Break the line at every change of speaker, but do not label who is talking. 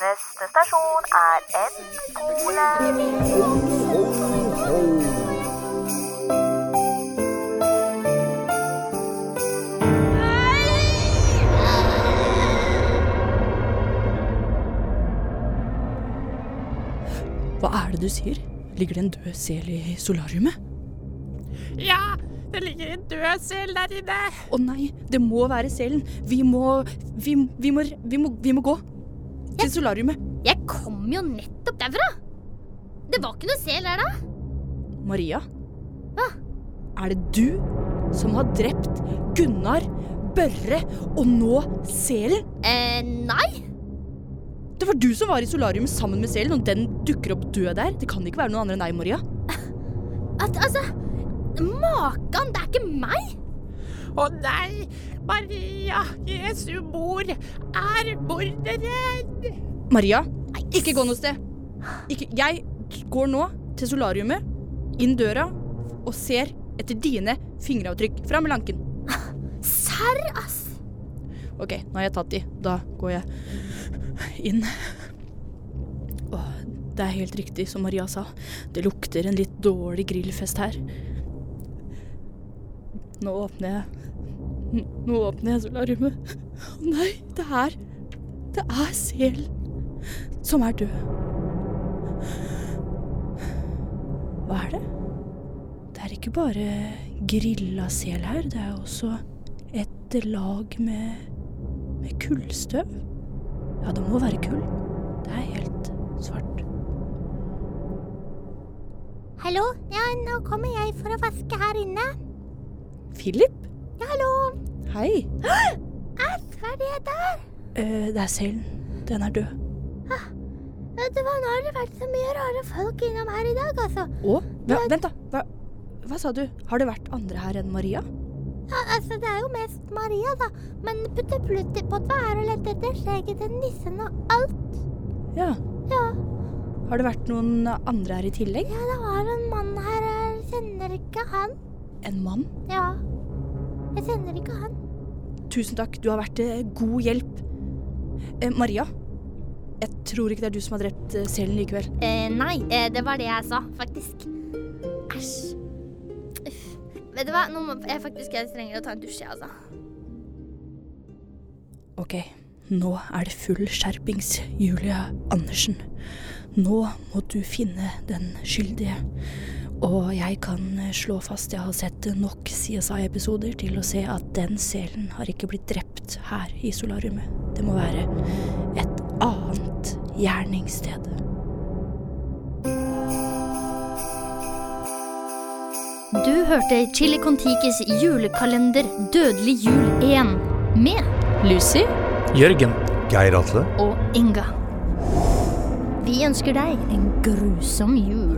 Neste stasjon er N-skole.
Hva er det du sier? Ligger det en død sel i solariumet?
Ja, det ligger en død sel der inne.
Å nei, det må være selen. Vi må Vi, vi, må, vi, må, vi må gå. Til solariumet.
Jeg kom jo nettopp derfra. Det var ikke noe sel der da.
Maria?
Hva?
Er det du som har drept Gunnar, Børre og nå selen?
Eh, nei.
Det var du som var i solariumet sammen med selen, og den dukker opp død der. Det kan ikke være noen andre enn deg, Maria.
At, altså, makan, det er ikke meg.
Å nei, Maria, Jesu mor, er morderen.
Maria, ikke gå noe sted. Ikke, jeg går nå til solariumet, inn døra, og ser etter dine fingeravtrykk. Fram med lanken.
Serr, ass.
Ok, nå har jeg tatt de. Da går jeg inn. Åh, det er helt riktig som Maria sa. Det lukter en litt dårlig grillfest her. Nå åpner jeg N- Nå åpner jeg solariumet. Å nei, det er Det er selen som er død. Hva er det? Det er ikke bare grilla sel her, det er også et lag med med kullstøv? Ja, det må være kull. Det er helt svart.
Hallo, ja, nå kommer jeg for å vaske her inne.
Philip?
Ja, hallo.
Hei.
Ass, hva er det der?
Eh, det er selen. Den er død.
Vet du hva, nå har det vært så mye rare folk innom her i dag, altså.
Å? Hva, vent, da. Hva, hva sa du? Har det vært andre her enn Maria?
Ja, altså, det er jo mest Maria, da. Men putte plutte på hva er å lette etter skjegget til nissen og alt.
Ja.
Ja,
Har det vært noen andre her i tillegg?
ja det var en mann her, jeg kjenner ikke han.
En mann?
Ja, jeg kjenner ikke han.
Tusen takk, du har vært eh, god hjelp. Eh, Maria, jeg tror ikke det er du som har drept eh, selen likevel.
Eh, nei, eh, det var det jeg sa, faktisk. Æsj. Uff. Vet du hva, nå må jeg faktisk jeg trenger å ta en dusj, jeg, altså.
Ok, nå er det full skjerpings, Julia Andersen. Nå må du finne den skyldige. Og jeg kan slå fast jeg har sett nok CSI-episoder til å se at den selen har ikke blitt drept her i solariumet. Det må være et annet gjerningssted.
Du hørte Chili Contikis julekalender Dødelig jul 1 med
Lucy?
Jørgen.
Geir Atle.
og Inga. Vi ønsker deg en grusom jul.